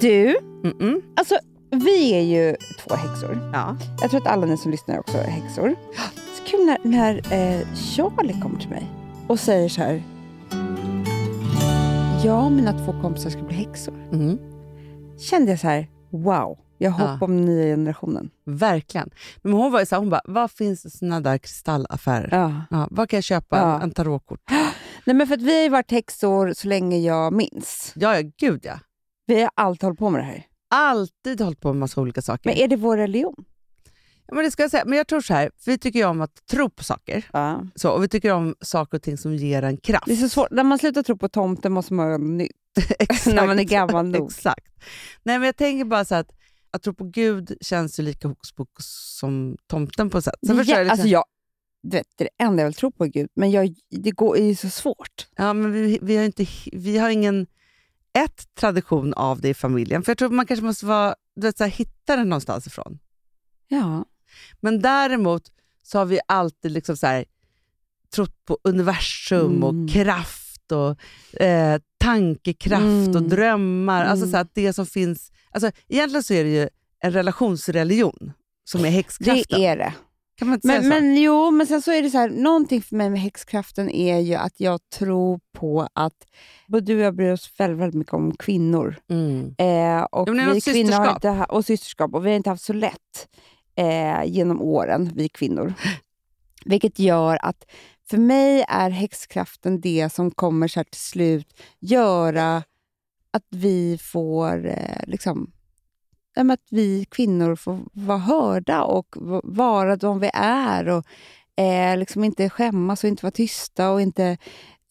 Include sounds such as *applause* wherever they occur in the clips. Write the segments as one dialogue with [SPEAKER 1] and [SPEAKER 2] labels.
[SPEAKER 1] Du,
[SPEAKER 2] Mm-mm.
[SPEAKER 1] alltså vi är ju två häxor.
[SPEAKER 2] Ja.
[SPEAKER 1] Jag tror att alla ni som lyssnar också är häxor. Så kul när, när eh, Charlie kommer till mig och säger så här. Ja, mina två kompisar ska bli häxor.
[SPEAKER 2] Mm.
[SPEAKER 1] Kände jag så här, wow, jag har hopp
[SPEAKER 2] Ja.
[SPEAKER 1] om nya generationen.
[SPEAKER 2] Verkligen. Men hon var ju så här, hon bara, vad finns såna där kristallaffärer? Ja.
[SPEAKER 1] Ja.
[SPEAKER 2] vad kan jag köpa?
[SPEAKER 1] Ja.
[SPEAKER 2] En tarotkort?
[SPEAKER 1] Nej, men för att vi har ju varit häxor så länge jag minns.
[SPEAKER 2] Ja, ja, gud ja.
[SPEAKER 1] Vi har alltid hållit på med det här.
[SPEAKER 2] Alltid hållit på med massa olika saker.
[SPEAKER 1] Men är det vår religion?
[SPEAKER 2] Ja, men, det ska jag, säga. men jag tror så här, för vi tycker ju om att tro på saker.
[SPEAKER 1] Ja.
[SPEAKER 2] Så, och vi tycker om saker och ting som ger en kraft.
[SPEAKER 1] Det är så
[SPEAKER 2] *laughs*
[SPEAKER 1] svårt. *laughs* När man slutar tro på tomten måste man göra något nytt. När man är gammal nog.
[SPEAKER 2] Exakt. Nej, men jag tänker bara så här att, att tro på Gud känns ju lika hokus pokus som tomten på ett sätt. Sen
[SPEAKER 1] Ja,
[SPEAKER 2] förstår jag, liksom,
[SPEAKER 1] alltså jag, du vet, det är det enda jag vill tro på är Gud, men jag, det går, är ju så svårt.
[SPEAKER 2] ja, men vi, vi har ju inte, vi har ingen ett tradition av det i familjen. För jag tror man kanske måste vara, du vet, så här, hitta det någonstans ifrån.
[SPEAKER 1] Ja.
[SPEAKER 2] Men däremot så har vi alltid liksom så här, trott på universum
[SPEAKER 1] Mm.
[SPEAKER 2] och kraft och eh, tankekraft och
[SPEAKER 1] Mm.
[SPEAKER 2] drömmar. Alltså
[SPEAKER 1] Mm.
[SPEAKER 2] så att det som finns, alltså, egentligen så är det ju en relationsreligion som är häxkraften.
[SPEAKER 1] Det är det.
[SPEAKER 2] Kan man inte
[SPEAKER 1] Men,
[SPEAKER 2] säga så?
[SPEAKER 1] men jo, men sen så är det så här, någonting för mig med häxkraften är ju att jag tror på att både du och jag bryr oss väldigt, väldigt mycket om kvinnor.
[SPEAKER 2] Mm.
[SPEAKER 1] Eh, och
[SPEAKER 2] Ja, men det är
[SPEAKER 1] vi
[SPEAKER 2] något
[SPEAKER 1] kvinnor har
[SPEAKER 2] systerskap.
[SPEAKER 1] inte, ha- och systerskap. Och vi har inte haft så lätt eh, genom åren, vi
[SPEAKER 2] *laughs*
[SPEAKER 1] kvinnor. Vilket gör att för mig är häxkraften det som kommer så här till slut göra att vi får eh, liksom, ja, men att vi kvinnor får vara hörda och v- vara de vi är. Och eh, liksom inte skämmas och inte vara tysta och inte...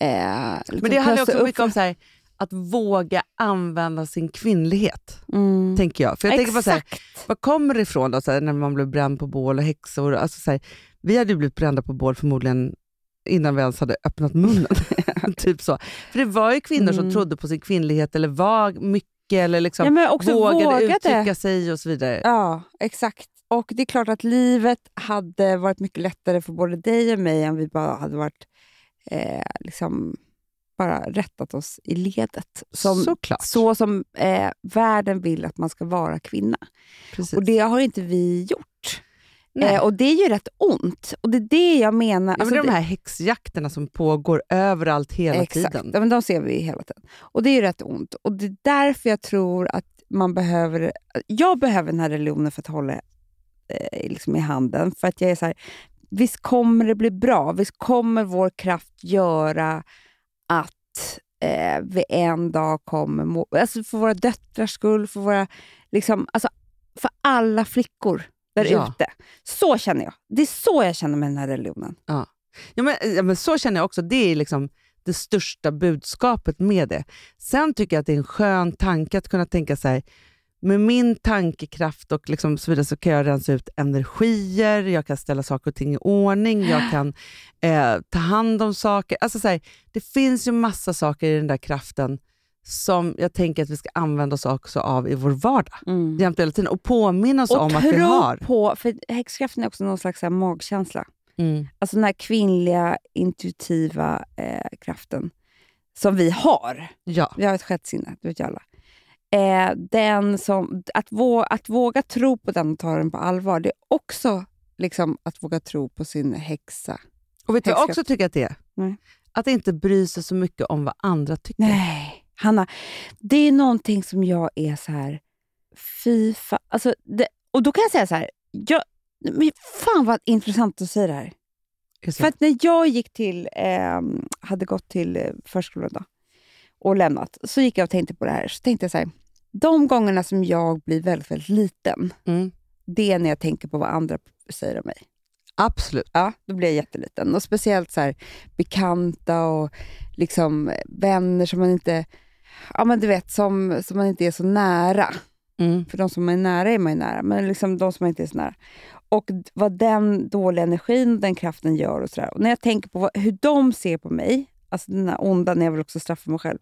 [SPEAKER 1] Eh, liksom
[SPEAKER 2] Men det handlar ju
[SPEAKER 1] plösa
[SPEAKER 2] också
[SPEAKER 1] upp
[SPEAKER 2] mycket om så här, att våga använda sin kvinnlighet,
[SPEAKER 1] Mm.
[SPEAKER 2] tänker jag. För jag tänker på så här,
[SPEAKER 1] Exakt.
[SPEAKER 2] Var kommer det ifrån då, så här, när man blev bränd på bål och häxor? Alltså, så här, vi hade ju blivit brända på bål förmodligen innan vi ens hade öppnat munnen. *laughs* typ så. För det var ju kvinnor
[SPEAKER 1] Mm.
[SPEAKER 2] som trodde på sin kvinnlighet eller var mycket eller liksom
[SPEAKER 1] ja, men också
[SPEAKER 2] vågade,
[SPEAKER 1] vågade
[SPEAKER 2] uttrycka sig och så vidare.
[SPEAKER 1] Ja, exakt. Och det är klart att livet hade varit mycket lättare för både dig och mig om vi bara hade varit eh, liksom bara rättat oss i ledet. Som,
[SPEAKER 2] Såklart.
[SPEAKER 1] så som eh, världen vill att man ska vara kvinna.
[SPEAKER 2] Precis.
[SPEAKER 1] Och det har inte vi gjort.
[SPEAKER 2] Nej.
[SPEAKER 1] Eh, och det är ju rätt ont. Och det är det jag menar.
[SPEAKER 2] Ja, men
[SPEAKER 1] alltså,
[SPEAKER 2] det är
[SPEAKER 1] det-
[SPEAKER 2] de här häxjakterna som pågår överallt hela
[SPEAKER 1] Exakt.
[SPEAKER 2] tiden.
[SPEAKER 1] Ja, men de ser vi hela tiden. Och det är ju rätt ont. Och det är därför jag tror att man behöver... Jag behöver den här religionen för att hålla eh, liksom i handen. För att jag är så här, visst kommer det bli bra? Visst kommer vår kraft göra att eh, vi en dag kommer må... Alltså för våra döttrars skull, för våra... Liksom, alltså för alla flickor där
[SPEAKER 2] Ja.
[SPEAKER 1] ute. Så känner jag. Det är så jag känner med den här religionen.
[SPEAKER 2] Ja, men, eh, ja, men så känner jag också. Det är liksom det största budskapet med det. Sen tycker jag att det är en skön tanke att kunna tänka så här, med min tankekraft och liksom så vidare så kan jag rensa ut energier, jag kan ställa saker och ting i ordning,
[SPEAKER 1] *gasps*
[SPEAKER 2] jag kan eh, ta hand om saker. Alltså så här, det finns ju massa saker i den där kraften som jag tänker att vi ska använda oss också av i vår vardag jämt och hela tiden och påminna oss om
[SPEAKER 1] och
[SPEAKER 2] att vi
[SPEAKER 1] tro
[SPEAKER 2] har.
[SPEAKER 1] på, för häxkraften är också någon slags så här magkänsla.
[SPEAKER 2] Mm.
[SPEAKER 1] Alltså den här kvinnliga intuitiva eh, kraften som vi har.
[SPEAKER 2] Ja.
[SPEAKER 1] Vi har ett sjätte sinne, det vet ju alla. Eh, den som, att, vå, att våga tro på den och ta den på allvar, det är också liksom att våga tro på sin häxa.
[SPEAKER 2] Och vet du vad jag
[SPEAKER 1] Häxkraft.
[SPEAKER 2] också tycker att det är?
[SPEAKER 1] Nej.
[SPEAKER 2] Att inte bry sig så mycket om vad andra tycker.
[SPEAKER 1] Nej, Hanna. Det är någonting som jag är så här... Fy fan. Alltså, det, och då kan jag säga så här. Jag, men fan vad intressant att säga det här.
[SPEAKER 2] Just
[SPEAKER 1] För
[SPEAKER 2] det.
[SPEAKER 1] att när jag gick till, ehm, hade gått till eh, förskolan då, och lämnat, så gick jag och tänkte på det här. Så tänkte jag så här, de gångerna som jag blir väldigt, väldigt liten,
[SPEAKER 2] Mm.
[SPEAKER 1] det är när jag tänker på vad andra säger om mig.
[SPEAKER 2] Absolut.
[SPEAKER 1] Ja, då blir jag jätteliten. Och speciellt så här, bekanta och liksom eh, vänner som man inte Ja, men du vet, som, som man inte är så nära.
[SPEAKER 2] Mm.
[SPEAKER 1] För de som är nära är man ju nära, men liksom de som man inte är så nära. Och d- vad den dåliga energin och den kraften gör och sådär. Och när jag tänker på vad, hur de ser på mig, alltså den här onda, när jag vill också straffa mig själv,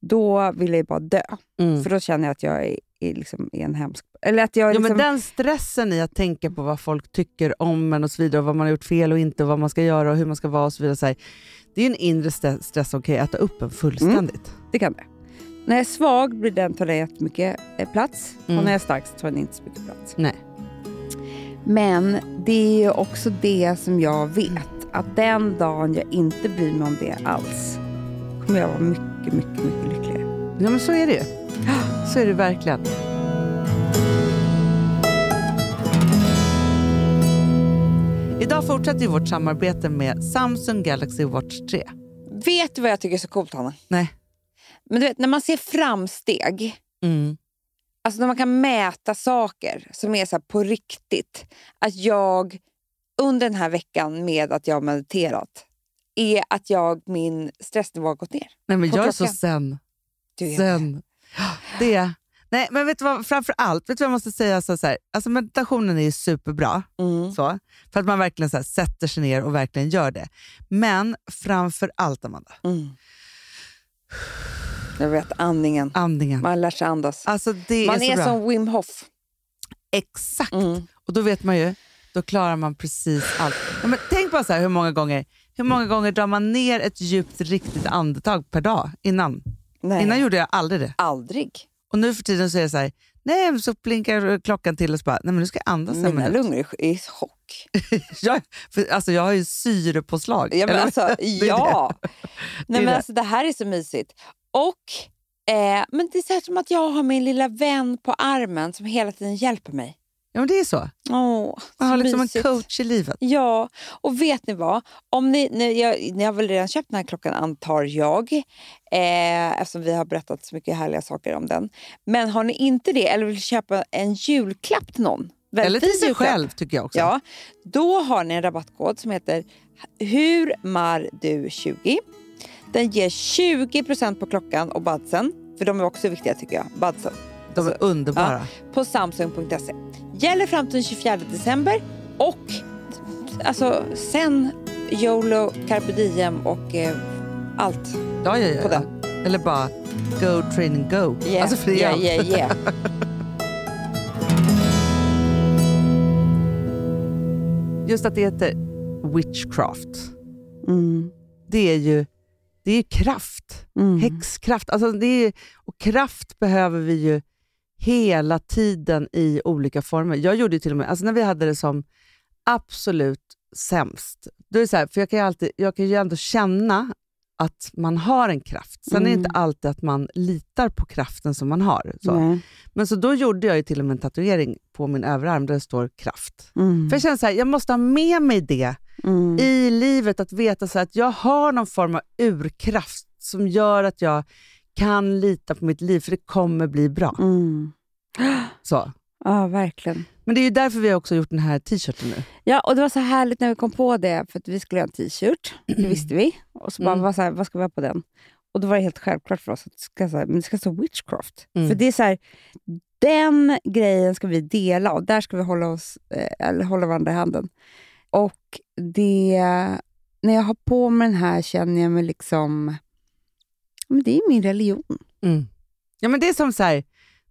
[SPEAKER 1] då vill jag ju bara dö.
[SPEAKER 2] Mm.
[SPEAKER 1] För då känner jag att jag är, är, liksom, är en hemsk... Eller att jag är
[SPEAKER 2] Ja,
[SPEAKER 1] liksom,
[SPEAKER 2] men den stressen i att tänka på vad folk tycker om en och så vidare, och vad man har gjort fel och inte, och vad man ska göra och hur man ska vara och så vidare. Så här, det är ju en inre st- stress som kan äta upp en fullständigt.
[SPEAKER 1] det kan det. När jag är svag blir den tar den jättemycket eh, plats
[SPEAKER 2] Mm.
[SPEAKER 1] och när jag är stark så tar den inte så mycket plats.
[SPEAKER 2] Nej.
[SPEAKER 1] Men det är ju också det som jag vet, att den dagen jag inte bryr mig om det alls kommer jag vara mycket, mycket, mycket lyckligare.
[SPEAKER 2] Ja, men så är
[SPEAKER 1] *gasps*
[SPEAKER 2] det ju. Så är det verkligen. Idag fortsätter ju vårt samarbete med Samsung Galaxy Watch 3.
[SPEAKER 1] Vet du vad jag tycker är så coolt, Hanna?
[SPEAKER 2] Nej.
[SPEAKER 1] Men du vet, när man ser framsteg,
[SPEAKER 2] Mm.
[SPEAKER 1] alltså när man kan mäta saker som är så här på riktigt. Att jag under den här veckan med att jag har mediterat är att jag, min stressnivå har gått ner.
[SPEAKER 2] Nej, men
[SPEAKER 1] På
[SPEAKER 2] jag är så
[SPEAKER 1] klockan.
[SPEAKER 2] sen.
[SPEAKER 1] Du vet.
[SPEAKER 2] Sen. *gasps* Det. Nej, men vet du vad, framför allt, vet du vad jag måste säga? Så så här, alltså meditationen är ju superbra.
[SPEAKER 1] Mm.
[SPEAKER 2] Så, för att man verkligen så här, sätter sig ner och verkligen gör det. Men framför allt, Amanda,
[SPEAKER 1] Mm. Jag vet, andningen.
[SPEAKER 2] andningen.
[SPEAKER 1] Man lär sig andas.
[SPEAKER 2] Alltså det
[SPEAKER 1] Man
[SPEAKER 2] är så
[SPEAKER 1] är
[SPEAKER 2] bra.
[SPEAKER 1] som Mm. Wim Hof.
[SPEAKER 2] Exakt. Och då vet man ju, då klarar man precis allt. Ja, men tänk bara så här, hur många gånger hur många gånger drar man ner ett djupt, riktigt andetag per dag innan?
[SPEAKER 1] Nej,
[SPEAKER 2] Innan gjorde jag aldrig det.
[SPEAKER 1] aldrig.
[SPEAKER 2] Och nu för tiden så är det så här, nej, men så blinkar klockan till och så bara, nej men nu ska jag andas en
[SPEAKER 1] Mina
[SPEAKER 2] minut.
[SPEAKER 1] lungor är i chock.
[SPEAKER 2] *laughs* Jag, för, alltså jag har ju syrepåslag.
[SPEAKER 1] Ja, men
[SPEAKER 2] Eller-
[SPEAKER 1] alltså,
[SPEAKER 2] *laughs* är
[SPEAKER 1] ja.
[SPEAKER 2] är
[SPEAKER 1] Nej, men
[SPEAKER 2] det.
[SPEAKER 1] alltså, det här är så mysigt. Och, eh, men det är så här som att jag har min lilla vän på armen som hela tiden hjälper mig.
[SPEAKER 2] ja, men det är så.
[SPEAKER 1] Åh,
[SPEAKER 2] Man har
[SPEAKER 1] så
[SPEAKER 2] liksom en
[SPEAKER 1] mysigt.
[SPEAKER 2] coach i livet.
[SPEAKER 1] Ja, och vet ni vad? Om ni, ni, jag, ni har väl redan köpt den här klockan, antar jag. Eh, eftersom vi har berättat så mycket härliga saker om den. Men har ni inte det, eller vill köpa en julklapp till någon? väldigt
[SPEAKER 2] Eller till
[SPEAKER 1] fin
[SPEAKER 2] sig
[SPEAKER 1] julklapp.
[SPEAKER 2] själv tycker jag också.
[SPEAKER 1] Ja, då har ni en rabattkod som heter HURMARDU20. Den ger 20 på klockan och badsen, för de är också viktiga tycker jag, badsen,
[SPEAKER 2] De är underbara.
[SPEAKER 1] på samsung.se. Gäller fram till den 24 december och alltså sen YOLO, carpe diem och eh, allt.
[SPEAKER 2] Ja, ja, ja,
[SPEAKER 1] På
[SPEAKER 2] ja. Eller bara go training go.
[SPEAKER 1] Yeah,
[SPEAKER 2] Alltså för det
[SPEAKER 1] yeah,
[SPEAKER 2] är allt.
[SPEAKER 1] yeah, yeah.
[SPEAKER 2] *laughs* Just att det heter witchcraft. Mm. Det är ju det är ju kraft.
[SPEAKER 1] Mm.
[SPEAKER 2] Häxkraft. Alltså det är, och kraft behöver vi ju hela tiden i olika former. Jag gjorde ju till och med, alltså när vi hade det som absolut sämst, då är det så här, för jag kan, ju alltid, jag kan ju ändå känna att man har en kraft. Sen är det
[SPEAKER 1] Mm.
[SPEAKER 2] inte alltid att man litar på kraften som man har. Så.
[SPEAKER 1] Nej.
[SPEAKER 2] Men så då gjorde jag ju till och med en tatuering på min överarm där det står kraft.
[SPEAKER 1] Mm.
[SPEAKER 2] För jag känner så här, jag måste ha med mig det
[SPEAKER 1] Mm.
[SPEAKER 2] i livet, att veta så här, att jag har någon form av urkraft som gör att jag kan lita på mitt liv, för det kommer bli bra.
[SPEAKER 1] Mm.
[SPEAKER 2] Så.
[SPEAKER 1] Ja, verkligen.
[SPEAKER 2] Men det är ju därför vi har också gjort den här t-shirten nu.
[SPEAKER 1] Ja, och det var så härligt när vi kom på det, för att vi skulle göra en t-shirt. Det visste vi. Och så bara,
[SPEAKER 2] Mm.
[SPEAKER 1] vad, så här, vad ska vi ha på den? Och då var det helt självklart för oss att det ska, så här, men det ska stå witchcraft.
[SPEAKER 2] Mm.
[SPEAKER 1] För det är så här, den grejen ska vi dela och där ska vi hålla, oss, eh, eller hålla varandra i handen. Och det, när jag har på mig den här känner jag mig liksom, ja, men det är min religion. Mm.
[SPEAKER 2] Ja, men det är som så här,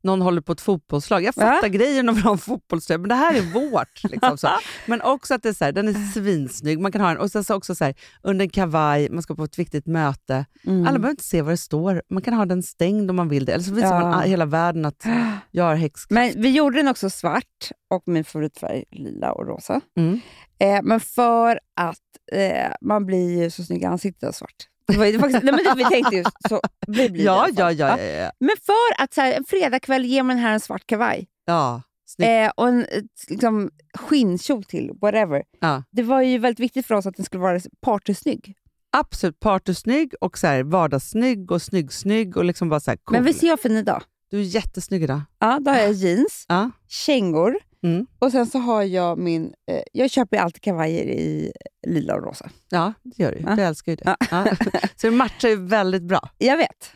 [SPEAKER 2] någon håller på ett fotbollslag. Jag fattar grejen om att ha en fotbollströja, men det här är vårt.
[SPEAKER 1] *laughs*
[SPEAKER 2] Liksom, så. Men också att det är så här, den
[SPEAKER 1] Eh.
[SPEAKER 2] är svinsnygg. Man kan ha den, och sen så också så här, under en kavaj, man ska på ett viktigt möte.
[SPEAKER 1] Mm.
[SPEAKER 2] Alla behöver inte se vad det står. Man kan ha den stängd om man vill det. Eller så visar
[SPEAKER 1] Ja.
[SPEAKER 2] man a- hela världen att jag har häxkraft.
[SPEAKER 1] "Ah." Men vi gjorde den också svart och min favoritfärg lila och rosa.
[SPEAKER 2] *laughs* Mm.
[SPEAKER 1] Eh, men för att eh, man blir ju så snygg i ansiktet av svart. Det var ju faktiskt, nej, men det, vi tänkte ju så. Vi blir det i
[SPEAKER 2] Ja,
[SPEAKER 1] alla
[SPEAKER 2] ja, ja,
[SPEAKER 1] fall.
[SPEAKER 2] ja, ja.
[SPEAKER 1] Men för att så här, en fredagkväll ger man den här en svart kavaj
[SPEAKER 2] ja. Snyggt.
[SPEAKER 1] eh, och en eh, liksom, skinnkjol till, whatever.
[SPEAKER 2] Ja.
[SPEAKER 1] Det var ju väldigt viktigt för oss att den skulle vara partysnygg.
[SPEAKER 2] Absolut partysnygg och så här vardagssnygg och snygg-snygg och liksom bara så här cool.
[SPEAKER 1] Men visst är jag fin idag?
[SPEAKER 2] Du är jättesnygg idag.
[SPEAKER 1] Ja, då har jag jeans,
[SPEAKER 2] Ja.
[SPEAKER 1] kängor
[SPEAKER 2] Mm.
[SPEAKER 1] och sen så har jag min... Eh, jag köper ju alltid kavajer i eh, lila och rosa.
[SPEAKER 2] Ja, det gör du.
[SPEAKER 1] Ja.
[SPEAKER 2] Jag älskar ju det.
[SPEAKER 1] Ja. *laughs*
[SPEAKER 2] Ja. Så det matchar ju väldigt bra.
[SPEAKER 1] Jag vet.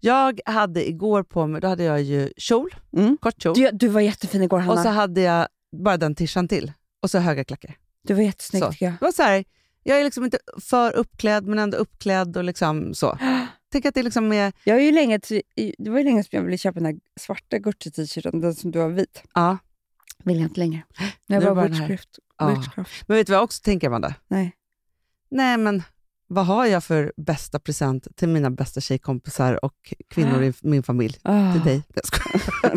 [SPEAKER 2] Jag hade igår på mig, då hade jag ju kjol,
[SPEAKER 1] Mm.
[SPEAKER 2] kort kjol,
[SPEAKER 1] Du, du var jättefin igår, Hanna.
[SPEAKER 2] och så hade jag bara den tishan till och så höga klackar.
[SPEAKER 1] du var jättesnygg
[SPEAKER 2] Så.
[SPEAKER 1] tycker jag.
[SPEAKER 2] Det var så här, jag är liksom inte för uppklädd men ändå uppklädd och
[SPEAKER 1] *gasps*
[SPEAKER 2] liksom så. Tänk att det liksom är,
[SPEAKER 1] Jag har ju länge, t- i- det var ju länge som jag ville köpa den här svarta Gucci-t-shirten, den som du har vit.
[SPEAKER 2] ja,
[SPEAKER 1] Vill jag inte längre.
[SPEAKER 2] Nu
[SPEAKER 1] Nu
[SPEAKER 2] är
[SPEAKER 1] är
[SPEAKER 2] det
[SPEAKER 1] jag
[SPEAKER 2] bara
[SPEAKER 1] bara
[SPEAKER 2] den här.
[SPEAKER 1] witchcraft.
[SPEAKER 2] Ja.
[SPEAKER 1] witchcraft.
[SPEAKER 2] Men vet du vad jag också tänker Amanda?
[SPEAKER 1] Nej.
[SPEAKER 2] Nej men vad har jag för bästa present till mina bästa tjejkompisar och kvinnor i min familj? Till dig. Jag skojar.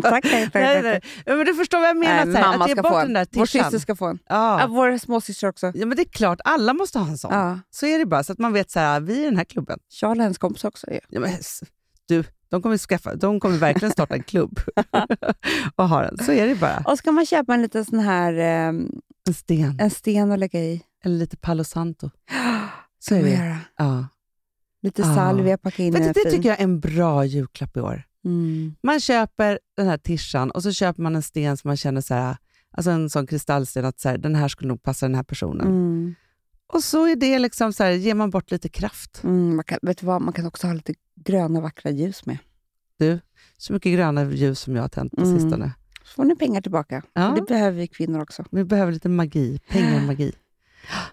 [SPEAKER 1] *laughs* Tack, tack,
[SPEAKER 2] Ah. *laughs* nej,
[SPEAKER 1] tack.
[SPEAKER 2] nej. Ja, men du förstår vad jag menar.
[SPEAKER 1] Nej,
[SPEAKER 2] så här,
[SPEAKER 1] mamma
[SPEAKER 2] att ge
[SPEAKER 1] ska
[SPEAKER 2] bort
[SPEAKER 1] få
[SPEAKER 2] den där
[SPEAKER 1] Vår
[SPEAKER 2] tishan.
[SPEAKER 1] syster ska få en. Ja,
[SPEAKER 2] Ja.
[SPEAKER 1] vår småsyster också.
[SPEAKER 2] ja, men det är klart. Alla måste ha en sån.
[SPEAKER 1] Ja.
[SPEAKER 2] Så är det bara. Så att man vet så här, "Ah, vi är den här klubben.
[SPEAKER 1] Charles och hennes kompis också. ju.
[SPEAKER 2] Ja, men, s- du, de kommer, skaffa, de kommer verkligen starta en *laughs* klubb och ha den. Så är det bara.
[SPEAKER 1] Och ska man köpa en liten sån här eh,
[SPEAKER 2] En sten.
[SPEAKER 1] en sten att lägga i.
[SPEAKER 2] Eller lite Palo *gasps* Santo. Så
[SPEAKER 1] Kan
[SPEAKER 2] är
[SPEAKER 1] man
[SPEAKER 2] det.
[SPEAKER 1] göra.
[SPEAKER 2] Ja.
[SPEAKER 1] Lite
[SPEAKER 2] Ja.
[SPEAKER 1] salvia, packa in i
[SPEAKER 2] Vet
[SPEAKER 1] en
[SPEAKER 2] du, det
[SPEAKER 1] fin-
[SPEAKER 2] tycker jag är en bra julklapp i år.
[SPEAKER 1] Mm.
[SPEAKER 2] Man köper den här tishan och så köper man en sten som man känner så här, alltså en sån kristallsten att så här, den här skulle nog passa den här personen.
[SPEAKER 1] Mm.
[SPEAKER 2] Och så är det liksom så här, ger man bort lite kraft.
[SPEAKER 1] Mm. Man kan, vet du vad, man kan också ha lite gröna vackra ljus med.
[SPEAKER 2] Så mycket gröna ljus som jag har tänt på
[SPEAKER 1] Mm.
[SPEAKER 2] sistone.
[SPEAKER 1] Så får ni pengar tillbaka.
[SPEAKER 2] Ja.
[SPEAKER 1] Det behöver vi kvinnor också.
[SPEAKER 2] Vi behöver lite magi, pengar
[SPEAKER 1] *gasps*
[SPEAKER 2] och magi.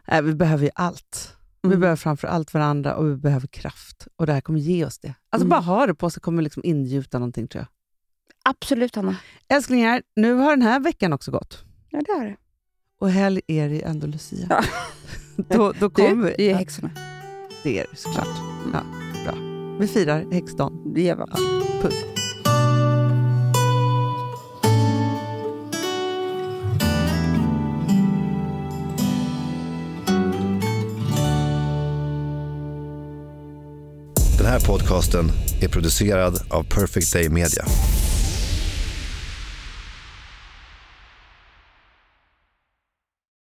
[SPEAKER 2] Nej, vi behöver ju allt. Vi
[SPEAKER 1] Mm.
[SPEAKER 2] behöver framför allt varandra och vi behöver kraft. Och det här kommer ge oss det. Alltså
[SPEAKER 1] Mm.
[SPEAKER 2] bara ha det på sig kommer liksom ingjuta någonting tror jag.
[SPEAKER 1] Absolut, Hanna.
[SPEAKER 2] Älsklingar, nu har den här veckan också gått.
[SPEAKER 1] Ja, det är det.
[SPEAKER 2] Och helg er i Andalusia.
[SPEAKER 1] Ja.
[SPEAKER 2] *laughs* då, då kommer
[SPEAKER 1] Du,
[SPEAKER 2] vi.
[SPEAKER 1] vi är
[SPEAKER 2] Ja,
[SPEAKER 1] häxorna.
[SPEAKER 2] det är det såklart. Ja, bra. Vi firar häxdagen.
[SPEAKER 1] Det gör vi absolut.
[SPEAKER 2] Puss.
[SPEAKER 3] Den här podcasten är producerad av Perfect Day Media.